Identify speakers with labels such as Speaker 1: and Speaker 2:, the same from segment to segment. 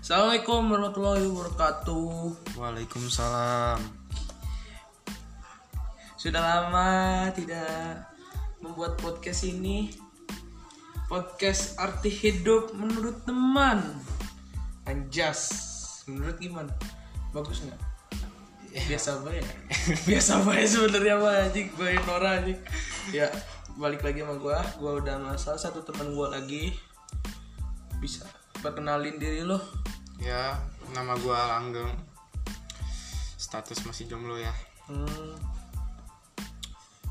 Speaker 1: Assalamualaikum warahmatullahi wabarakatuh.
Speaker 2: Waalaikumsalam.
Speaker 1: Sudah lama tidak membuat podcast ini. Podcast arti hidup menurut teman. Anjas. Menurut gimana? Bagus nggak? Biasa aja. Biasa aja sebenarnya mah anjing, gue Nora anjing. Ya, balik lagi sama gua. Gua udah sama salah satu teman gua lagi. Bisa perkenalin diri lo.
Speaker 2: Ya, nama gua Langgeng. Status masih jomblo ya.
Speaker 1: Hmm,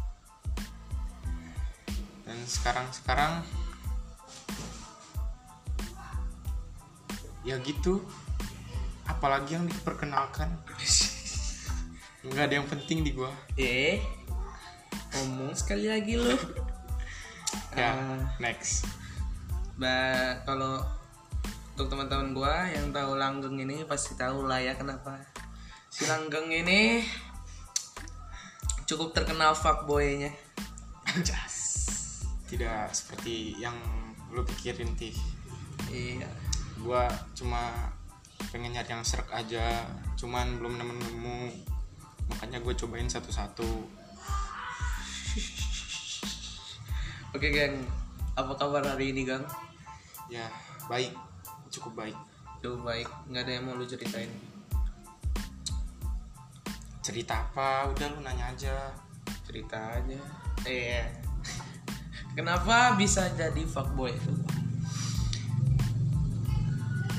Speaker 2: Dan sekarang sekarang ya gitu. Apalagi yang diperkenalkan. Enggak ada yang penting di gua.
Speaker 1: Eh, ngomong sekali lagi lu.
Speaker 2: Ya,
Speaker 1: Ah.
Speaker 2: next.
Speaker 1: Ba, kalau untuk teman-teman gua yang tahu langgeng ini pasti tahu lah ya kenapa. Si langgeng ini cukup terkenal fuckboy-nya.
Speaker 2: Tidak seperti yang lu pikirin tih.
Speaker 1: Iya.
Speaker 2: Gua cuma pengen nyari yang serak aja, cuman belum nemu-nemu. Makanya gue cobain satu-satu.
Speaker 1: Oke, geng. Apa kabar hari ini, Gang?
Speaker 2: Ya, baik. Cukup baik.
Speaker 1: Duh, baik. Nggak ada yang mau lu ceritain.
Speaker 2: cerita apa udah lu nanya aja
Speaker 1: Cerita aja. Iya. Kenapa bisa jadi fuckboy?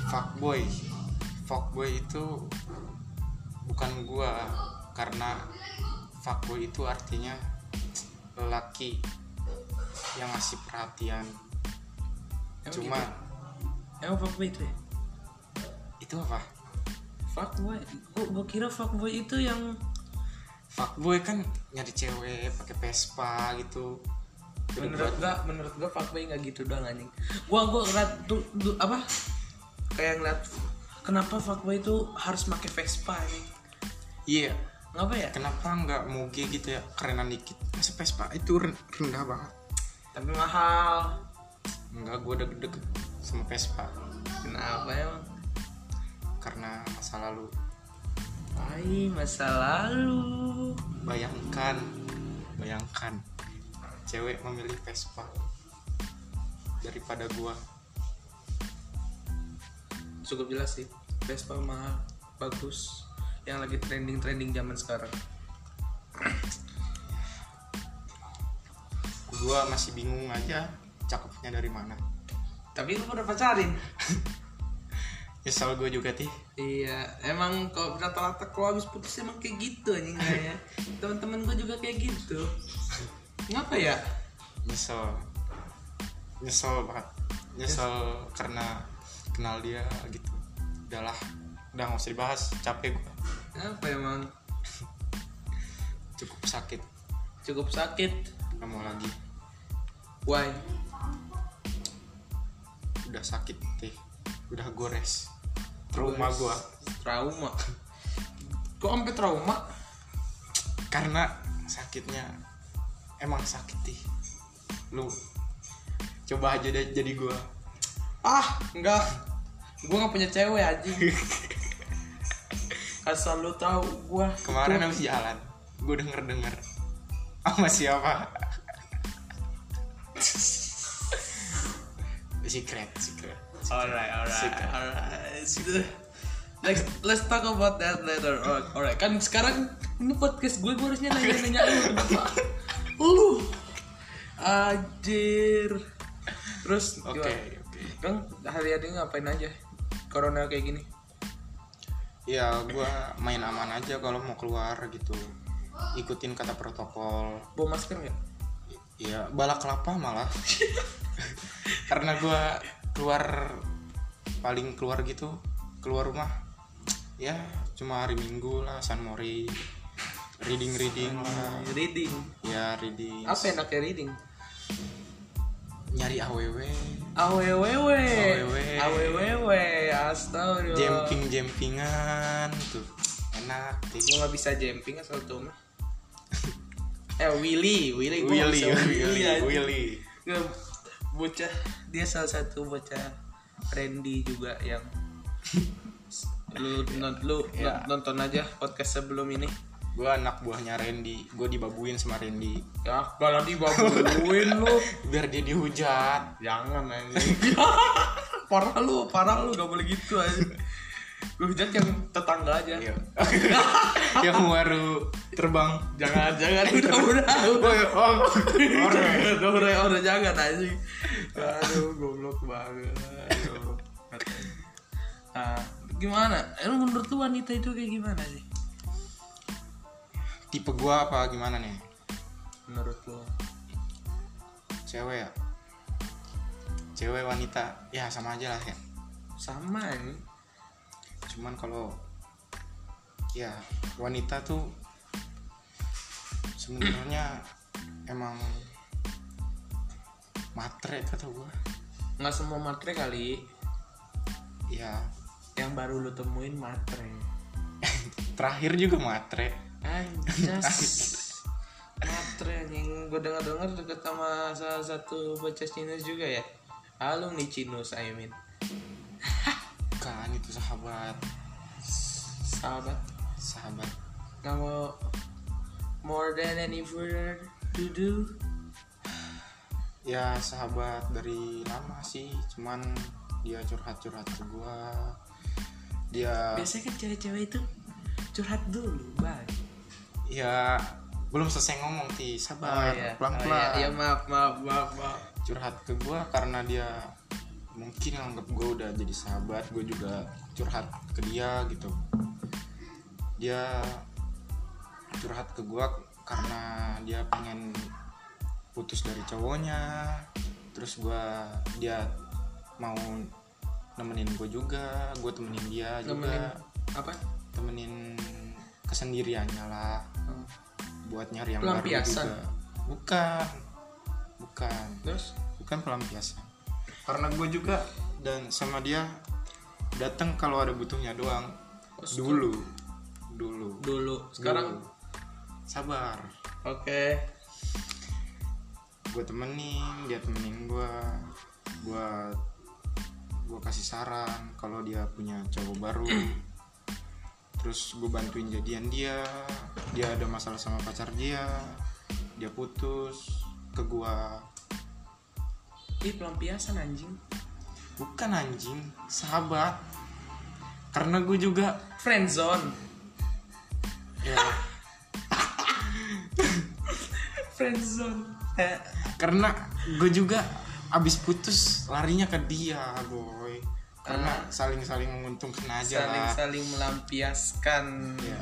Speaker 2: fuckboy fuckboy itu bukan gua karena fuckboy itu artinya lelaki yang ngasih perhatian
Speaker 1: Emang
Speaker 2: cuma
Speaker 1: gitu? Emang fuckboy itu ya?
Speaker 2: itu apa
Speaker 1: Fuckboy? Gue gua kira fuckboy itu yang
Speaker 2: fuckboy kan nyari cewek pakai Vespa gitu Udah
Speaker 1: menurut gua menurut gua fuckboy nggak gitu doang anjing gua gua ngeliat du- du- apa kayak ngeliat kenapa fuckboy itu harus pakai Vespa anjing
Speaker 2: iya
Speaker 1: ngapa ya
Speaker 2: kenapa nggak moge gitu ya kerenan dikit masa Vespa itu ren- rendah banget
Speaker 1: tapi mahal
Speaker 2: enggak gua deg-deg sama Vespa
Speaker 1: kenapa emang
Speaker 2: karena masa lalu
Speaker 1: Ay, masa lalu
Speaker 2: bayangkan bayangkan cewek memilih Vespa daripada gua
Speaker 1: cukup jelas sih Vespa mahal bagus yang lagi trending trending zaman sekarang
Speaker 2: gua masih bingung aja cakepnya dari mana
Speaker 1: tapi lu pernah pacarin
Speaker 2: nyesel gua juga tih
Speaker 1: Iya, emang kalau rata-rata kalau habis putus emang kayak gitu anjing kayaknya. Teman-teman gue juga kayak gitu. Ngapa ya?
Speaker 2: nyesel nyesel banget nyesel karena kenal dia gitu udahlah udah nggak usah dibahas capek gua
Speaker 1: Ngapa emang?
Speaker 2: cukup sakit
Speaker 1: Cukup sakit.
Speaker 2: nggak mau lagi
Speaker 1: Why?
Speaker 2: udah sakit tih udah gores trauma
Speaker 1: Gores.
Speaker 2: gua
Speaker 1: Trauma. Kok sampai trauma?
Speaker 2: karena sakitnya emang sakit sih lu coba aja deh jadi gua
Speaker 1: Ah, enggak. Gue nggak punya cewek anjing. Asal lu tahu gue
Speaker 2: kemarin habis jalan gua denger denger sama siapa secret secret
Speaker 1: Alright, alright,
Speaker 2: Sikat.
Speaker 1: alright. Next, let's talk about that later. Alright, alright. kan sekarang ini podcast gue, gue harusnya nanya-nanya lu, kenapa? lu, Ajir. Terus,
Speaker 2: oke
Speaker 1: gimana?
Speaker 2: oke
Speaker 1: Kang, hari hari Kan, ini ngapain aja? Corona kayak gini.
Speaker 2: ya gua main aman aja kalau mau keluar gitu ikutin kata protokol
Speaker 1: Bawa masker nggak?
Speaker 2: ya balak kelapa malah karena gua keluar paling keluar gitu keluar rumah ya cuma hari minggu lah San Mori reading reading lah
Speaker 1: Reading.
Speaker 2: ya reading
Speaker 1: Apa enaknya reading?
Speaker 2: nyari aww
Speaker 1: Awww.
Speaker 2: Awewewe.
Speaker 1: Awww. Astagfirullah.
Speaker 2: jamping jampingan tuh enak
Speaker 1: Gue
Speaker 2: tuh
Speaker 1: nggak bisa jumping asal tuh mah. Eh Willy, Willy, gua nggak
Speaker 2: Willy
Speaker 1: bisa
Speaker 2: Willy
Speaker 1: anjing.
Speaker 2: Willy
Speaker 1: Nggak, bocah dia salah satu bocah trendy juga yang lu, non- lu
Speaker 2: Ya.
Speaker 1: non- nonton aja podcast sebelum ini
Speaker 2: gue anak buahnya Randy gue dibabuin sama Randy
Speaker 1: ya kalau dibabuin lu
Speaker 2: biar dia dihujat
Speaker 1: jangan anjing parah lu parah lu gak boleh gitu anjing gue hujat yang tetangga aja
Speaker 2: Iya. yang baru terbang
Speaker 1: jangan jangan udah udah
Speaker 2: oh, ya, oh. Orang.
Speaker 1: udah udah udah jangan anjing aduh goblok banget goblok. Nah, gimana Eh, lu menurut lu wanita itu kayak gimana sih
Speaker 2: tipe gue apa gimana nih
Speaker 1: menurut lu
Speaker 2: cewek ya cewek wanita ya sama aja lah ya
Speaker 1: sama anjing
Speaker 2: cuman kalau ya wanita tuh sebenarnya emang matre kata gue
Speaker 1: nggak semua matre kali
Speaker 2: ya
Speaker 1: yang baru lu temuin matre
Speaker 2: terakhir juga matre
Speaker 1: anjas matre anjing gue dengar dengar deket sama salah satu bocah Chinese juga ya alumni Chinese I mean
Speaker 2: kan itu sahabat
Speaker 1: sahabat
Speaker 2: sahabat
Speaker 1: kalau more than any further to do
Speaker 2: ya sahabat dari lama sih cuman dia curhat curhat ke gue dia
Speaker 1: biasanya kan cewek-cewek itu curhat dulu bang
Speaker 2: ya belum selesai ngomong ti sabar pelan
Speaker 1: Oh, iya.
Speaker 2: pelan
Speaker 1: Iya, maaf maaf maaf maaf
Speaker 2: curhat ke gue karena dia mungkin anggap gue udah jadi sahabat gue juga curhat ke dia gitu dia curhat ke gue karena dia pengen putus dari cowoknya terus gue dia mau nemenin gue juga gue temenin dia
Speaker 1: nemenin
Speaker 2: juga
Speaker 1: apa
Speaker 2: temenin kesendiriannya lah
Speaker 1: Hmm.
Speaker 2: buat nyari yang baru
Speaker 1: Pelampiasan.
Speaker 2: juga bukan bukan
Speaker 1: terus
Speaker 2: bukan pelampiasan karena gue juga dan sama dia datang kalau ada butuhnya doang dulu dulu
Speaker 1: dulu sekarang
Speaker 2: Dulu. sabar
Speaker 1: oke
Speaker 2: gue temenin dia temenin gue gue gue kasih saran kalau dia punya cowok baru terus gue bantuin jadian dia dia ada masalah sama pacar dia dia putus ke gue
Speaker 1: ih pelampiasan anjing
Speaker 2: bukan anjing sahabat karena gue juga
Speaker 1: friendzone
Speaker 2: ya,
Speaker 1: friendzone eh,
Speaker 2: karena gue juga abis putus larinya ke dia boy karena saling saling menguntungkan aja
Speaker 1: saling
Speaker 2: lah
Speaker 1: saling melampiaskan
Speaker 2: ya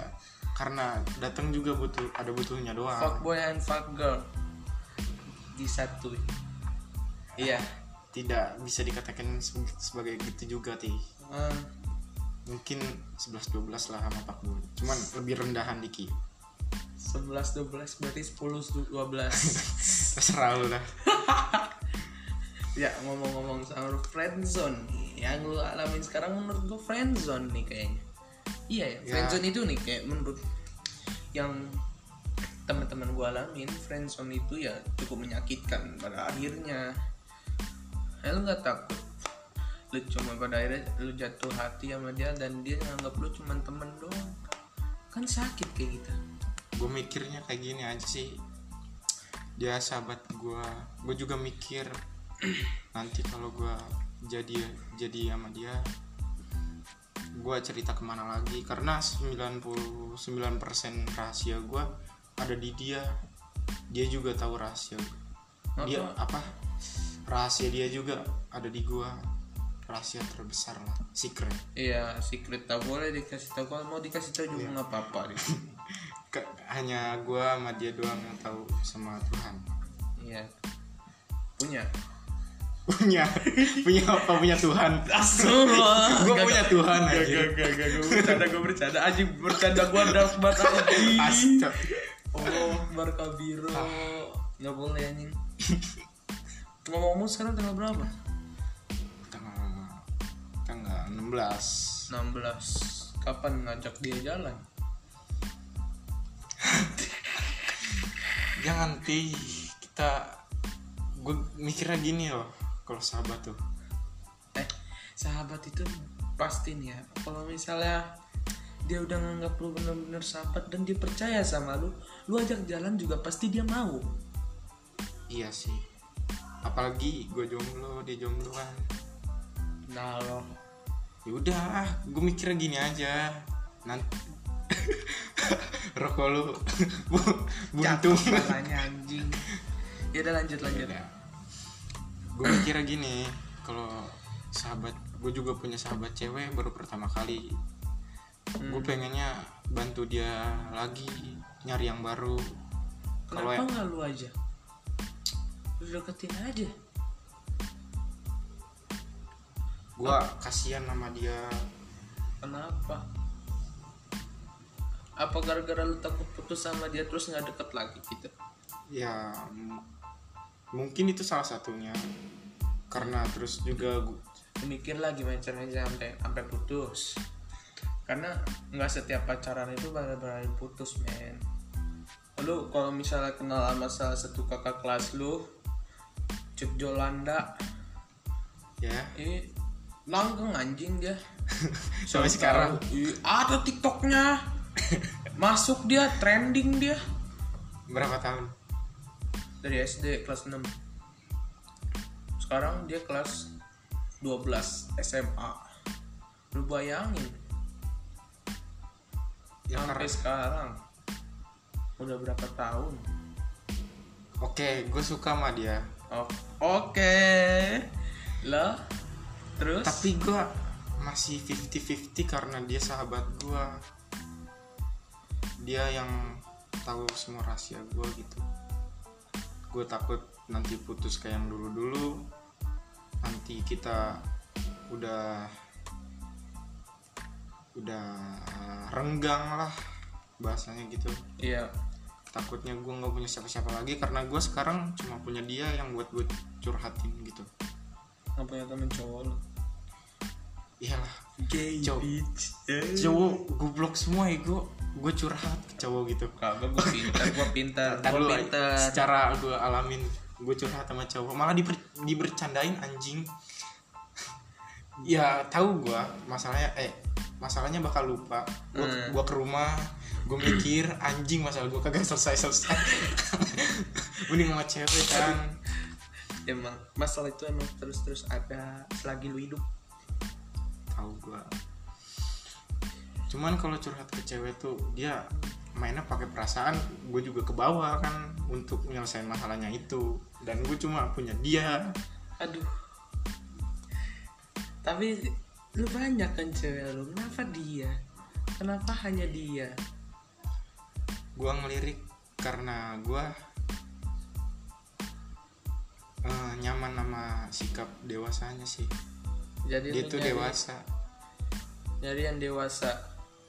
Speaker 2: karena datang juga butuh ada butuhnya doang
Speaker 1: fuckboy and fuckgirl disatuin iya
Speaker 2: tidak bisa dikatakan se- sebagai gitu juga ti
Speaker 1: Eh,
Speaker 2: mungkin 11-12 lah sama Pak Bun cuman lebih rendahan dikit
Speaker 1: 11 12 berarti 10 12
Speaker 2: terserah lu lah
Speaker 1: ya ngomong-ngomong soal friendzone nih, yang lu alamin sekarang menurut gua friendzone nih kayaknya iya ya
Speaker 2: Ya.
Speaker 1: friendzone itu nih kayak menurut yang teman-teman gua alamin friendzone itu ya cukup menyakitkan pada akhirnya Eh, lu nggak takut lu cuma pada akhirnya lu jatuh hati sama dia dan dia nganggap lu cuma temen doang kan sakit kayak gitu
Speaker 2: gue mikirnya kayak gini aja sih dia sahabat gue gue juga mikir nanti kalau gue jadi jadi sama dia gue cerita kemana lagi karena 99% rahasia gue ada di dia dia juga tahu rahasia gua. dia apa rahasia dia juga ada di gue rahasia terbesar lah secret
Speaker 1: Iya, secret tak boleh dikasih tahu. Kalau mau dikasih tahu juga nggak apa-apa. deh.
Speaker 2: Ke- hanya gue sama dia doang yang tahu sama Tuhan
Speaker 1: Iya. Punya.
Speaker 2: punya punya apa punya Tuhan
Speaker 1: Astagfirullah.
Speaker 2: gue punya Tuhan
Speaker 1: Gak,
Speaker 2: aja
Speaker 1: gak, gak, gak, gue bercanda, gue bercanda Anjing, bercanda gue draft banget anjing
Speaker 2: Astaga. Ah.
Speaker 1: Allah, Oh, Barca Biro Gak boleh anjing Ngomong-ngomong sekarang tanggal berapa?
Speaker 2: tanggal tanggal 16
Speaker 1: 16 Kapan ngajak dia jalan?
Speaker 2: jangan ti Ya kita gue mikirnya gini loh kalau sahabat tuh
Speaker 1: Eh, sahabat itu pastiin ya kalau misalnya dia udah nganggap lu bener-bener sahabat dan dia percaya sama lu lu ajak jalan juga pasti dia mau
Speaker 2: iya sih apalagi gue jomblo dia jomblo kan
Speaker 1: nah lo
Speaker 2: ya udah ah gue mikirnya gini aja nanti rokok lu bu- buntung
Speaker 1: Cakep makanya, anjing ya udah lanjut lanjut
Speaker 2: Iya, gue mikirnya gini kalau sahabat gue juga punya sahabat cewek baru pertama kali gue pengennya bantu dia lagi nyari yang baru kalau
Speaker 1: kenapa nggak lu aja lu deketin aja
Speaker 2: gue kasihan sama dia
Speaker 1: kenapa apa gara-gara lu takut putus sama dia terus nggak deket lagi gitu
Speaker 2: ya m- mungkin itu salah satunya karena terus juga gu-
Speaker 1: mikir lagi macam-macam sampai sampai putus karena nggak setiap pacaran itu benar-benar putus men lu kalau misalnya kenal sama salah satu kakak kelas lu Cuk Jolanda
Speaker 2: ya
Speaker 1: eh langgeng anjing dia
Speaker 2: sampai sekarang
Speaker 1: Ih, ada tiktoknya masuk dia trending dia
Speaker 2: berapa tahun
Speaker 1: dari SD kelas 6 sekarang dia kelas 12 SMA lu bayangin
Speaker 2: ya
Speaker 1: sampai
Speaker 2: karena
Speaker 1: sekarang udah berapa tahun
Speaker 2: oke gue suka sama dia
Speaker 1: oh, oke lah terus
Speaker 2: tapi gue masih 50-50 karena dia sahabat gue dia yang tahu semua rahasia gue gitu gue takut nanti putus kayak yang dulu-dulu nanti kita udah udah renggang lah bahasanya gitu
Speaker 1: iya
Speaker 2: takutnya gue nggak punya siapa-siapa lagi karena gue sekarang cuma punya dia yang buat gue curhatin gitu
Speaker 1: nggak punya temen cowok lu
Speaker 2: iyalah
Speaker 1: gay
Speaker 2: Cowok.
Speaker 1: bitch
Speaker 2: cowok goblok semua ego gue curhat ke cowok gitu
Speaker 1: kagak gue pintar gue pintar
Speaker 2: Ntar
Speaker 1: gue
Speaker 2: lu,
Speaker 1: pintar
Speaker 2: secara gue alamin gue curhat sama cowok malah diber, dibercandain anjing ya tahu gue masalahnya eh masalahnya bakal lupa gue
Speaker 1: Hmm.
Speaker 2: ke rumah gue mikir anjing masalah gue kagak selesai selesai mending sama cewek kan
Speaker 1: emang masalah itu emang terus terus ada selagi lu hidup
Speaker 2: tahu gua cuman kalau curhat ke cewek tuh dia mainnya pakai perasaan gue juga ke bawah kan untuk menyelesaikan masalahnya itu dan gue cuma punya dia
Speaker 1: Aduh. Tapi lu banyak kan cewek lu. Kenapa dia? Kenapa hanya dia?
Speaker 2: gue ngelirik karena gue eh, nyaman sama sikap dewasanya sih
Speaker 1: Jadi
Speaker 2: dia
Speaker 1: lu
Speaker 2: tuh
Speaker 1: nyari-
Speaker 2: dewasa
Speaker 1: Nyari yang dewasa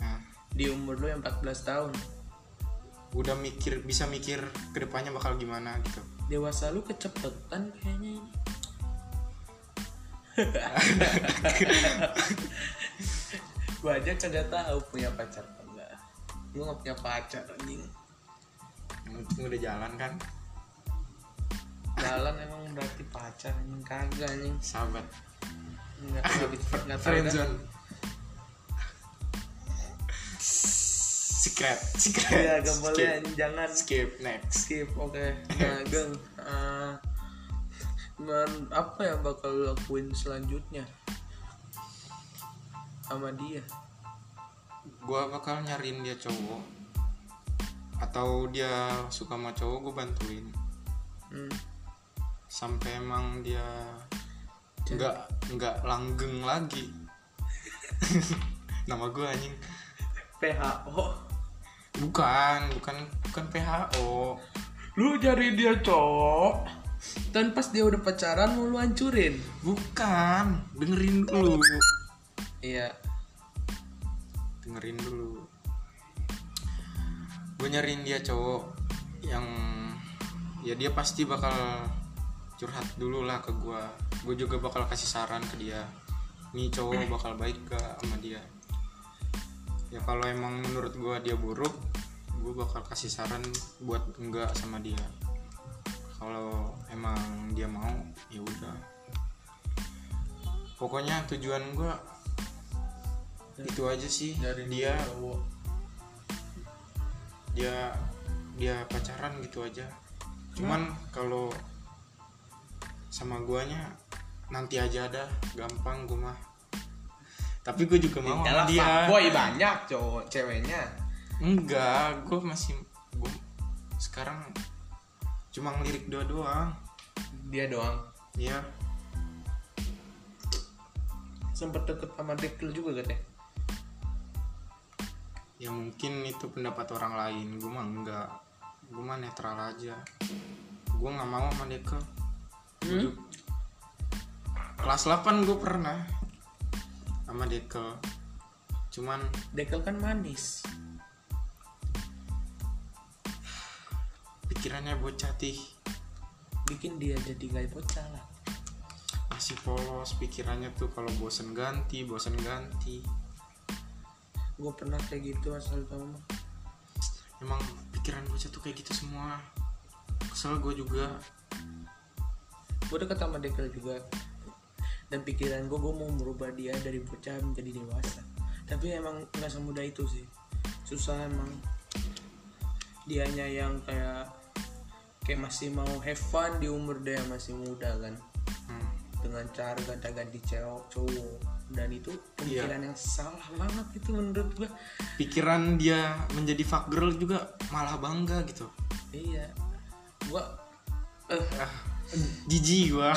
Speaker 2: nah
Speaker 1: di umur lu yang 14 tahun.
Speaker 2: udah mikir bisa mikir kedepannya bakal gimana gitu
Speaker 1: Dewasa lu kecepetan kayaknya ini. gua aja kagak tahu punya pacar apa enggak. Gua nggak punya pacar anjing.
Speaker 2: yang penting udah jalan kan
Speaker 1: Jalan emang berarti pacar anjing kagak anjing.
Speaker 2: sahabat
Speaker 1: Enggak enggak enggak tahu kan? dah.
Speaker 2: friendzone secret secret
Speaker 1: Iya, gak boleh
Speaker 2: skip,
Speaker 1: anjing, jangan
Speaker 2: skip next
Speaker 1: skip. Oke, nah, geng, eh, men- apa yang bakal lo lakuin selanjutnya sama dia?
Speaker 2: gua bakal nyariin dia cowok atau dia suka sama cowok gue bantuin
Speaker 1: Hmm,
Speaker 2: sampai emang dia nggak nggak langgeng lagi nama gue anjing
Speaker 1: PHO.
Speaker 2: bukan bukan bukan PHO
Speaker 1: Lu cari dia cowok. Dan pas dia udah pacaran mau lu hancurin.
Speaker 2: bukan dengerin dulu
Speaker 1: Iya.
Speaker 2: dengerin dulu gue nyariin dia cowok yang ya dia pasti bakal curhat dulu lah ke gue gue juga bakal kasih saran ke dia nih cowok bakal baik gak sama dia ya kalau emang menurut gue dia buruk gue bakal kasih saran buat enggak sama dia kalau emang dia mau ya udah pokoknya tujuan gue itu aja sih
Speaker 1: dari
Speaker 2: dia
Speaker 1: cowok
Speaker 2: dia dia pacaran gitu aja cuman kalau sama guanya nanti aja ada gampang gue mah tapi gue juga mau sama
Speaker 3: Yalah,
Speaker 2: dia
Speaker 3: fuckboy banyak cowok ceweknya.
Speaker 2: enggak gue masih gue sekarang cuma ngelirik dua doang
Speaker 3: Dia doang.
Speaker 2: ya
Speaker 3: Sempet deket sama Dekil juga kan, gak deh?
Speaker 2: ya mungkin itu pendapat orang lain gue mah enggak gue mah netral aja gue nggak mau sama Deko
Speaker 1: Hmm?
Speaker 2: kelas 8 gue pernah sama Deko cuman
Speaker 1: Dekel kan manis
Speaker 2: pikirannya bocah tih
Speaker 1: bikin dia jadi gak bocah lah
Speaker 2: masih polos pikirannya tuh kalau bosen ganti bosen ganti
Speaker 1: gue pernah kayak gitu asal tau mah
Speaker 2: emang pikiran bocah tuh kayak gitu semua kesel gue juga
Speaker 1: gue deket sama Dekel juga dan pikiran gue gue mau merubah dia dari bocah menjadi dewasa tapi emang nggak semudah itu sih susah emang dianya yang kayak kayak masih mau have fun di umur dia yang masih muda kan
Speaker 2: Hmm.
Speaker 1: dengan cara ganti-ganti cewek cowok dan itu
Speaker 2: Iya.
Speaker 1: pemikiran yang salah banget itu menurut gue
Speaker 2: pikiran dia menjadi fuck girl juga malah bangga gitu
Speaker 1: iya gue eh
Speaker 2: ah, jijik gue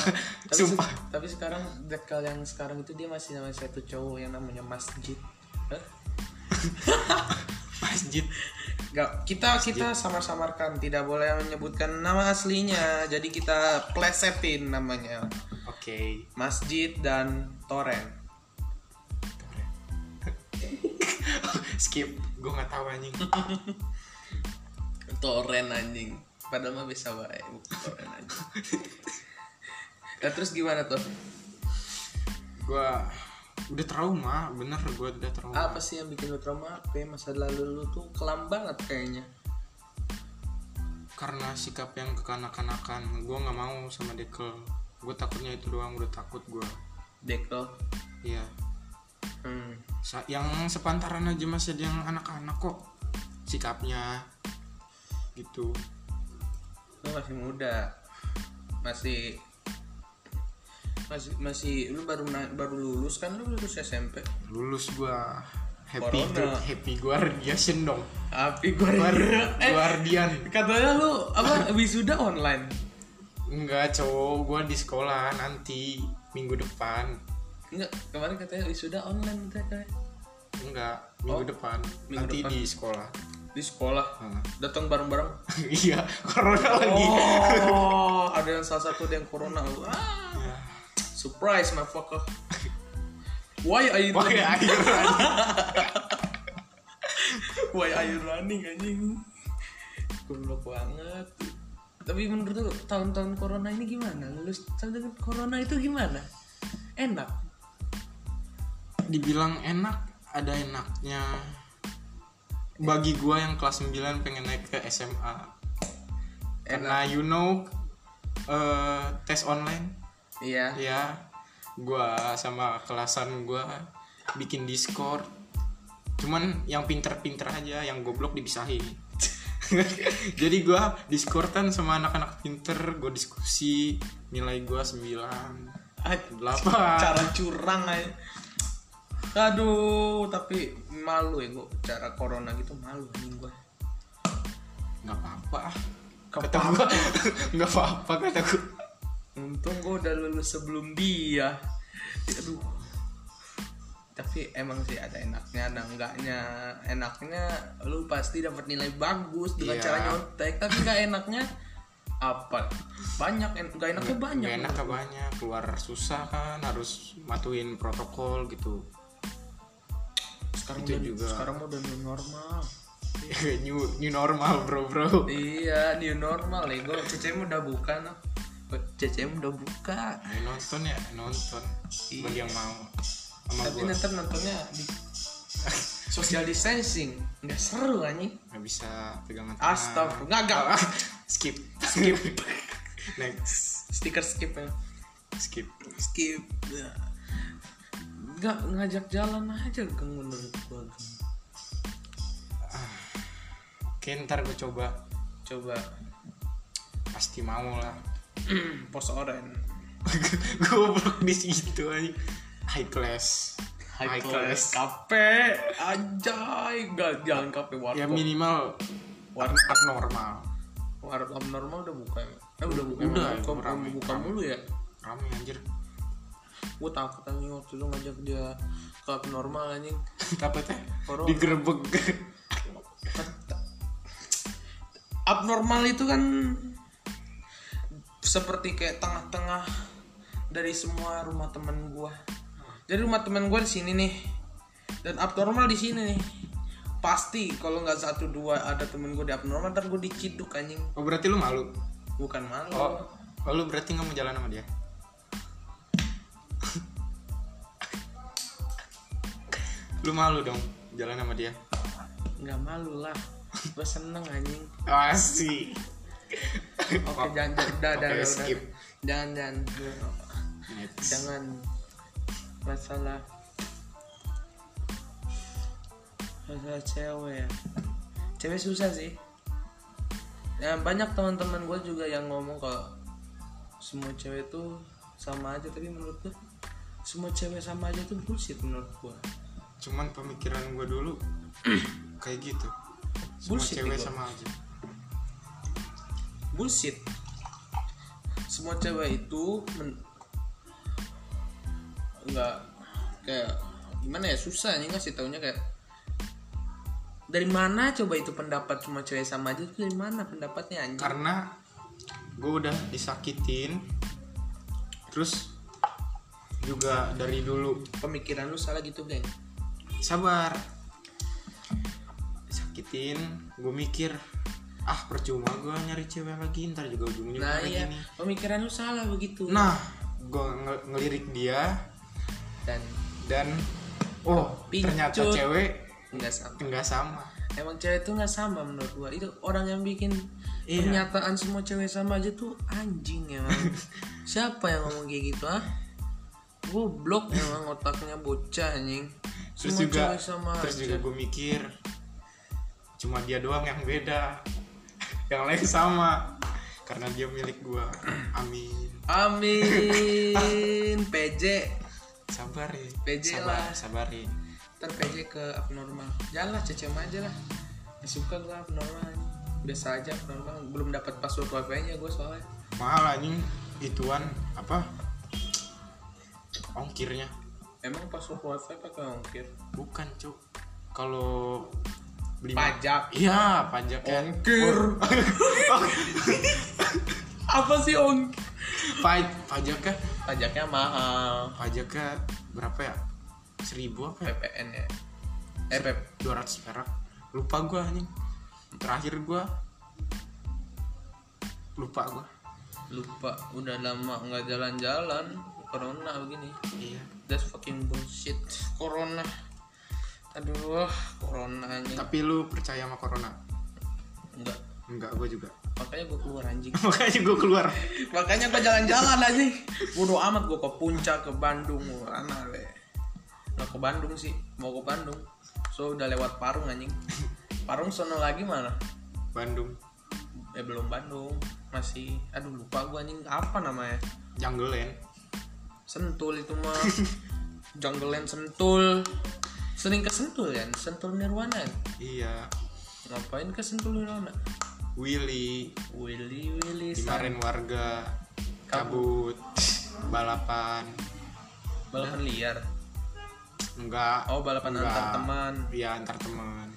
Speaker 1: tapi, se-
Speaker 2: sumpah
Speaker 1: tapi sekarang dekal yang sekarang itu dia masih sama satu cowok yang namanya Masjid Hah?
Speaker 2: masjid
Speaker 1: Gak, kita kita samar-samarkan tidak boleh menyebutkan nama aslinya jadi kita plesetin namanya
Speaker 2: oke
Speaker 1: masjid dan toren
Speaker 2: skip gue nggak tahu anjing
Speaker 1: toren anjing padahal mah bisa baik toren anjing Nah, terus gimana tuh
Speaker 2: gue udah trauma bener gue udah trauma
Speaker 1: apa sih yang bikin lu trauma apa ya? masa lalu lu tuh kelam banget kayaknya
Speaker 2: karena sikap yang kekanak-kanakan gue nggak mau sama Dekel gue takutnya itu doang udah takut gue
Speaker 1: Dekel
Speaker 2: iya
Speaker 1: hmm.
Speaker 2: Sa- yang sepantaran aja masih ada yang anak-anak kok sikapnya gitu
Speaker 1: lu masih muda masih masih masih lu baru na- baru lulus kan lu lulus SMP
Speaker 2: lulus gue happy
Speaker 1: Corona.
Speaker 2: tuh happy guardian dong
Speaker 1: Api
Speaker 2: Guar-
Speaker 1: Guardian. Eh,
Speaker 2: guardian
Speaker 1: katanya lu apa wisuda online.
Speaker 2: enggak cowok gue di sekolah nanti minggu depan
Speaker 1: Enggak, kemarin katanya wisuda online katanya katanya.
Speaker 2: enggak
Speaker 1: Oh,
Speaker 2: minggu depan
Speaker 1: minggu
Speaker 2: nanti
Speaker 1: depan.
Speaker 2: di sekolah
Speaker 1: di sekolah.
Speaker 2: Heeh.
Speaker 1: Datang bareng-bareng.
Speaker 2: iya corona lagi
Speaker 1: Iya. Oh, ada yang salah satu ada yang corona. Wah.
Speaker 2: Ya.
Speaker 1: Surprise my fucker. Why are you
Speaker 2: Pakai
Speaker 1: running?
Speaker 2: air lagi.
Speaker 1: Why are you running anjing? Goblok banget. Tapi menurut lu tahun-tahun corona ini gimana? Lulus tahun dengan corona itu gimana? Enak.
Speaker 2: dibilang enak ada enaknya bagi gua yang kelas 9 pengen naik ke SMA karena you know eh, tes online
Speaker 1: Iya.
Speaker 2: ya gua sama kelasan gua bikin discord cuman yang pinter-pinter aja yang goblok dipisahin jadi gua discordan sama anak-anak pinter gua diskusi nilai gua 9 8
Speaker 1: cara curang aja aduh tapi malu ya gua cara corona gitu malu anjing gua
Speaker 2: nggak apa-apa
Speaker 1: Nggak
Speaker 2: kata gua nggak apa-apa kata gua
Speaker 1: untung gua udah lulus sebelum dia aduh tapi emang sih ada enaknya ada enggaknya enaknya lu pasti dapat nilai bagus dengan
Speaker 2: Iya.
Speaker 1: cara nyontek tapi nggak enaknya apa banyak en- nggak enaknya banyak
Speaker 2: nggak enak banyak keluar susah kan harus matuin protokol gitu
Speaker 1: sekarang
Speaker 2: Itu
Speaker 1: udah,
Speaker 2: juga.
Speaker 1: sekarang udah new normal
Speaker 2: new new normal bro bro
Speaker 1: Iya, new normal ya. Gue CCM udah buka noh. CCM udah buka.
Speaker 2: Ya, nonton ya nonton bagi yang mau sama
Speaker 1: Tapi
Speaker 2: gua
Speaker 1: nanti nontonnya di social distancing. Nggak seru anjing.
Speaker 2: nggak bisa pegangan tangan
Speaker 1: Astagfirullah. Nggak, nggak.
Speaker 2: skip skip next
Speaker 1: Stiker skip ya.
Speaker 2: skip
Speaker 1: Skip.
Speaker 4: nggak ngajak jalan aja Geng menurut gua Geng.
Speaker 2: Oke ntar gue coba
Speaker 1: Coba
Speaker 2: pasti mau lah.
Speaker 1: pos oren.
Speaker 2: Goblok di situ aja. High class.
Speaker 1: High class kafe anjay gak jangan kafe warkop
Speaker 2: Ya minimal
Speaker 1: Warna-
Speaker 2: warna normal.
Speaker 1: warkop abnormal udah buka ya eh udah buka
Speaker 2: Udah,
Speaker 1: emang buka,
Speaker 2: ramai.
Speaker 1: buka mulu ya
Speaker 2: Rame anjir.
Speaker 1: gue takut anjing waktu itu ngajak dia ke abnormal anjing
Speaker 2: Tapi teh
Speaker 1: Corona.
Speaker 2: digerebek.
Speaker 1: Kan abnormal itu kan seperti kayak tengah-tengah dari semua rumah teman gua. Jadi rumah teman gua di sini nih. Dan abnormal di sini nih. Pasti kalau nggak satu dua ada temen gua di abnormal ntar gua diciduk anjing.
Speaker 2: Oh berarti lu malu.
Speaker 1: Bukan malu.
Speaker 2: Oh, oh lu berarti nggak mau jalan sama dia? lu malu dong jalan sama dia?
Speaker 1: Nggak malu lah. Gua seneng anjing.
Speaker 2: Asik.
Speaker 1: Oke jangan jangan udah, udah,
Speaker 2: Oke,
Speaker 1: udah, udah.
Speaker 2: skip.
Speaker 1: Jangan jangan jangan masalah masalah cewek ya. cewek susah sih ya banyak teman-teman gue juga yang ngomong kalau semua cewek tuh sama aja tapi menurut gue semua cewek sama aja tuh bullshit menurut gue
Speaker 2: Cuman pemikiran gue dulu kayak gitu. Semua
Speaker 1: Bullshit
Speaker 2: cewek
Speaker 1: itu.
Speaker 2: sama aja.
Speaker 1: bullshit semua cewek itu men- nggak kayak gimana ya susah nih ngasih taunya kayak dari mana coba itu pendapat semua cewek sama aja itu dari mana pendapatnya anjing
Speaker 2: Karena gue udah disakitin. Terus juga dari dulu
Speaker 1: pemikiran lu salah gitu geng
Speaker 2: sabar sakitin gue mikir ah percuma gue nyari cewek lagi ntar juga ujungnya
Speaker 1: nah
Speaker 2: kayak
Speaker 1: iya
Speaker 2: gini.
Speaker 1: pemikiran lu salah begitu
Speaker 2: nah gue ngelirik dia
Speaker 1: dan
Speaker 2: dan oh
Speaker 1: Picut.
Speaker 2: ternyata cewek
Speaker 1: nggak sama
Speaker 2: nggak sama
Speaker 1: emang cewek tuh nggak sama menurut gua itu orang yang bikin
Speaker 2: Iya.
Speaker 1: pernyataan semua cewek sama aja tuh anjing emang siapa yang ngomong kayak gitu ah goblok emang otaknya bocah anjing
Speaker 2: terus
Speaker 1: semua
Speaker 2: juga
Speaker 1: cewek sama
Speaker 2: terus
Speaker 1: aja.
Speaker 2: juga gue mikir cuma dia doang yang beda yang lain sama karena dia milik gue amin
Speaker 1: amin PJ
Speaker 2: sabar ya
Speaker 1: PJ
Speaker 2: sabar ya.
Speaker 1: lah.
Speaker 2: sabarin
Speaker 1: ntar PJ ke abnormal jalan lah cecem aja lah Nggak suka gua abnormal anjing. biasa aja abnormal belum dapat password wifi nya gua soalnya
Speaker 2: mahal anjing ituan apa ongkirnya
Speaker 1: emang password wifi pakai ongkir
Speaker 2: bukan cuk kalau beli
Speaker 1: pajak
Speaker 2: iya pajak ya.
Speaker 1: Ongkir. apa sih ongkir
Speaker 2: Pa- pajaknya
Speaker 1: pajaknya mahal
Speaker 2: pajaknya berapa ya seribu apa ya
Speaker 1: PPN ya eh Pep
Speaker 2: dua ratus perak lupa gua anjing terakhir gua lupa gua
Speaker 1: lupa udah lama nggak jalan-jalan corona begini
Speaker 2: iya
Speaker 1: that's fucking bullshit corona aduh corona anjing
Speaker 2: tapi lu percaya sama corona
Speaker 1: enggak
Speaker 2: enggak gua juga
Speaker 1: makanya gue keluar anjing
Speaker 2: makanya gua keluar
Speaker 1: makanya gue jalan-jalan anjing bodoh amat gue ke puncak ke Bandung gue mana le nggak ke Bandung sih mau ke Bandung so udah lewat Parung anjing Parung sono lagi mana
Speaker 2: Bandung
Speaker 1: eh belum Bandung masih aduh lupa gue anjing apa namanya
Speaker 2: jungle land
Speaker 1: Sentul itu mah Jungle Land Sentul Sering ke Sentul kan? Sentul Nirwana kan?
Speaker 2: iya
Speaker 1: Ngapain ke Sentul Nirwana?
Speaker 2: Willy
Speaker 1: Willy Willy San-
Speaker 2: kemarin warga kabut balapan
Speaker 1: Balapan liar
Speaker 2: enggak
Speaker 1: Oh balapan
Speaker 2: Nah. enggak.
Speaker 1: antar teman
Speaker 2: iya antar teman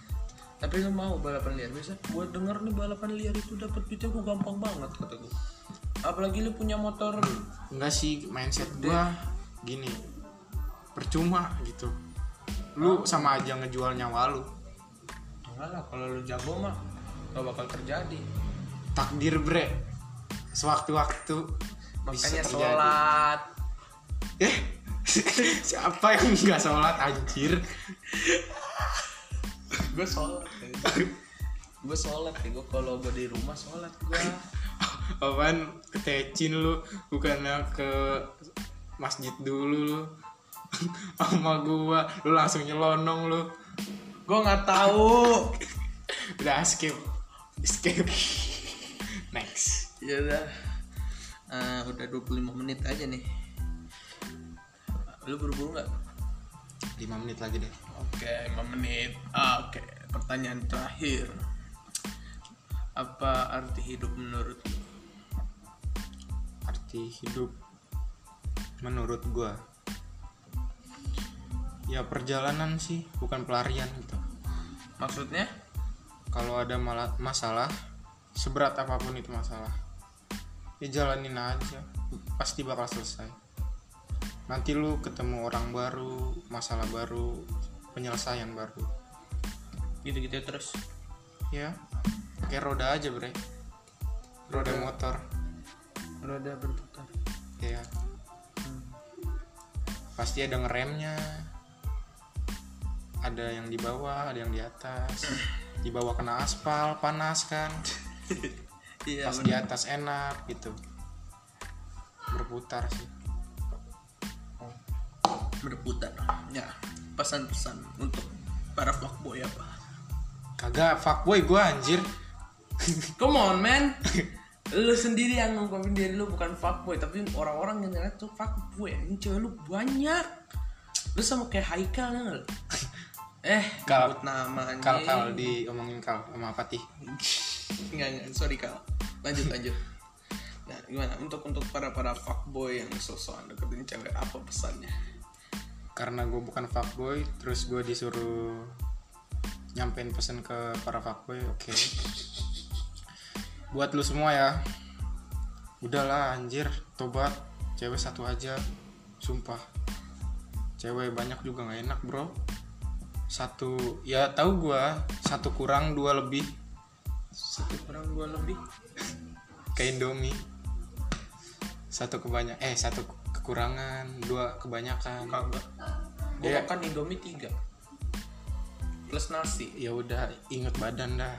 Speaker 1: Tapi lu mau balapan liar Biasa gue denger nih balapan liar itu dapat duitnya gue gampang banget kata gue Apalagi lu punya motor
Speaker 2: enggak sih mindset gua gini percuma gitu lu sama aja ngejual nyawa lu
Speaker 1: Enggak lah kalau lu jago mah Gak bakal terjadi
Speaker 2: takdir bre sewaktu-waktu bisa
Speaker 1: Makanya
Speaker 2: terjadi
Speaker 1: sholat
Speaker 2: eh siapa yang nggak sholat anjir
Speaker 1: Gue sholat
Speaker 2: ya.
Speaker 1: Gue sholat ya Gue kalau gue di rumah sholat gue
Speaker 2: apaan ke Tecin lu bukannya ke masjid dulu lu sama gua lu langsung nyelonong lu
Speaker 1: Gue nggak tahu.
Speaker 2: udah skip skip next
Speaker 1: ya udah Eh, udah 25 menit aja nih. Lu buru-buru nggak?
Speaker 2: 5 menit lagi deh
Speaker 1: Oke, 5 menit. Ah, Oke, pertanyaan terakhir. Apa arti hidup menurut lu?
Speaker 2: arti hidup menurut gua ya perjalanan sih bukan pelarian gitu
Speaker 1: Maksudnya?
Speaker 2: kalau ada mala- masalah seberat apapun itu masalah ya jalanin aja pasti bakal selesai nanti lu ketemu orang baru masalah baru penyelesaian baru
Speaker 1: Gitu-gitu terus.
Speaker 2: ya pakai roda aja bre roda motor
Speaker 1: Roda berputar.
Speaker 2: ya pasti ada ngeremnya ada yang di bawah ada yang di atas di bawah kena aspal panas kan
Speaker 1: Iya,
Speaker 2: pas di atas enak gitu berputar sih
Speaker 1: berputar. Ya, pesan-pesan untuk para fuckboy apa?
Speaker 2: kagak fuckboy gua anjir
Speaker 1: Come on, man. lu sendiri yang ngungkapin diri lu bukan fuckboy, tapi orang-orang yang ngeliat tuh fuckboy. Ini cewek lu banyak. Lu sama kayak Haikal ya nggak lu? Eh,
Speaker 2: Kal.
Speaker 1: nyebut nama anjing.
Speaker 2: kal kal diomongin kal sama Fatih
Speaker 1: Enggak, enggak, sorry Kal. Lanjut, lanjut. Nah, gimana untuk untuk para para fuckboy yang sosokan deketin cewek apa pesannya?
Speaker 2: karena gue bukan fuckboy terus gue disuruh nyampein pesan ke para fuckboy oke buat lu semua ya udahlah anjir tobat cewek satu aja sumpah cewek banyak juga nggak enak bro satu ya tahu gue satu kurang dua lebih
Speaker 1: Satu kurang dua lebih.
Speaker 2: kayak Indomie satu kebanyak eh satu kekurangan dua kebanyakan
Speaker 1: Kagak. Gue
Speaker 2: Iya.
Speaker 1: makan Indomie tiga plus nasi.
Speaker 2: ya udah inget badan dah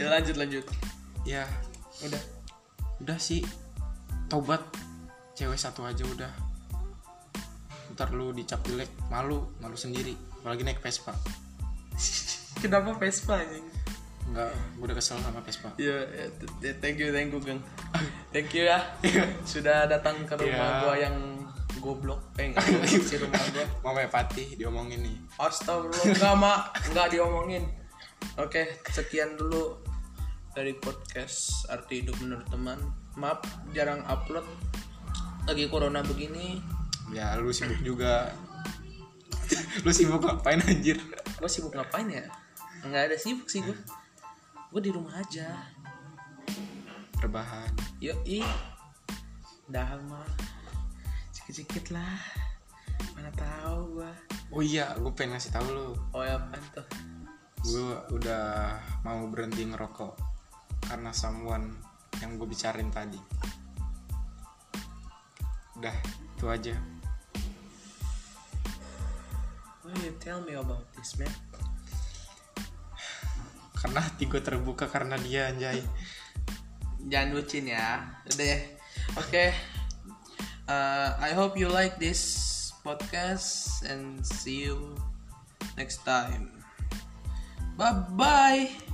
Speaker 1: Ya, lanjut, lanjut.
Speaker 2: ya
Speaker 1: Udah.
Speaker 2: udah sih tobat cewek satu aja udah ntar lu dicap jelek malu malu sendiri apalagi naik Vespa
Speaker 1: Kenapa Vespa anjing?
Speaker 2: nggak gua udah kesel sama Vespa
Speaker 1: Ya, ya, t- ya, thank you, thank you, Gang. Thank you ya. Sudah datang ke rumah
Speaker 2: Ya.
Speaker 1: gua yang goblok. Eh, enggak goblok sih rumah gua.
Speaker 2: Mama Fatih diomongin nih
Speaker 1: Astagfirullah, enggak, Mak. Enggak diomongin. Oke, sekian dulu dari podcast Arti Hidup Menurut Teman. Maaf, jarang upload. Lagi corona begini,
Speaker 2: ya lu sibuk juga lu sibuk ngapain anjir
Speaker 1: gue sibuk ngapain ya? Enggak ada sibuk sih gue. Gue di rumah aja.
Speaker 2: rebahan
Speaker 1: Yoi Dah mah Sikit-sikit lah Mana tahu gua
Speaker 2: oh iya gue pengen ngasih tahu lu
Speaker 1: Oh ya apaan tuh
Speaker 2: gue udah mau berhenti ngerokok karena someone yang gue bicarain tadi udah itu aja
Speaker 1: Why you tell me about this man
Speaker 2: karena hati gue terbuka karena dia anjay
Speaker 1: Jangan lucin ya Udah ya Oke Uh, I hope you like this podcast And see you next time Bye-bye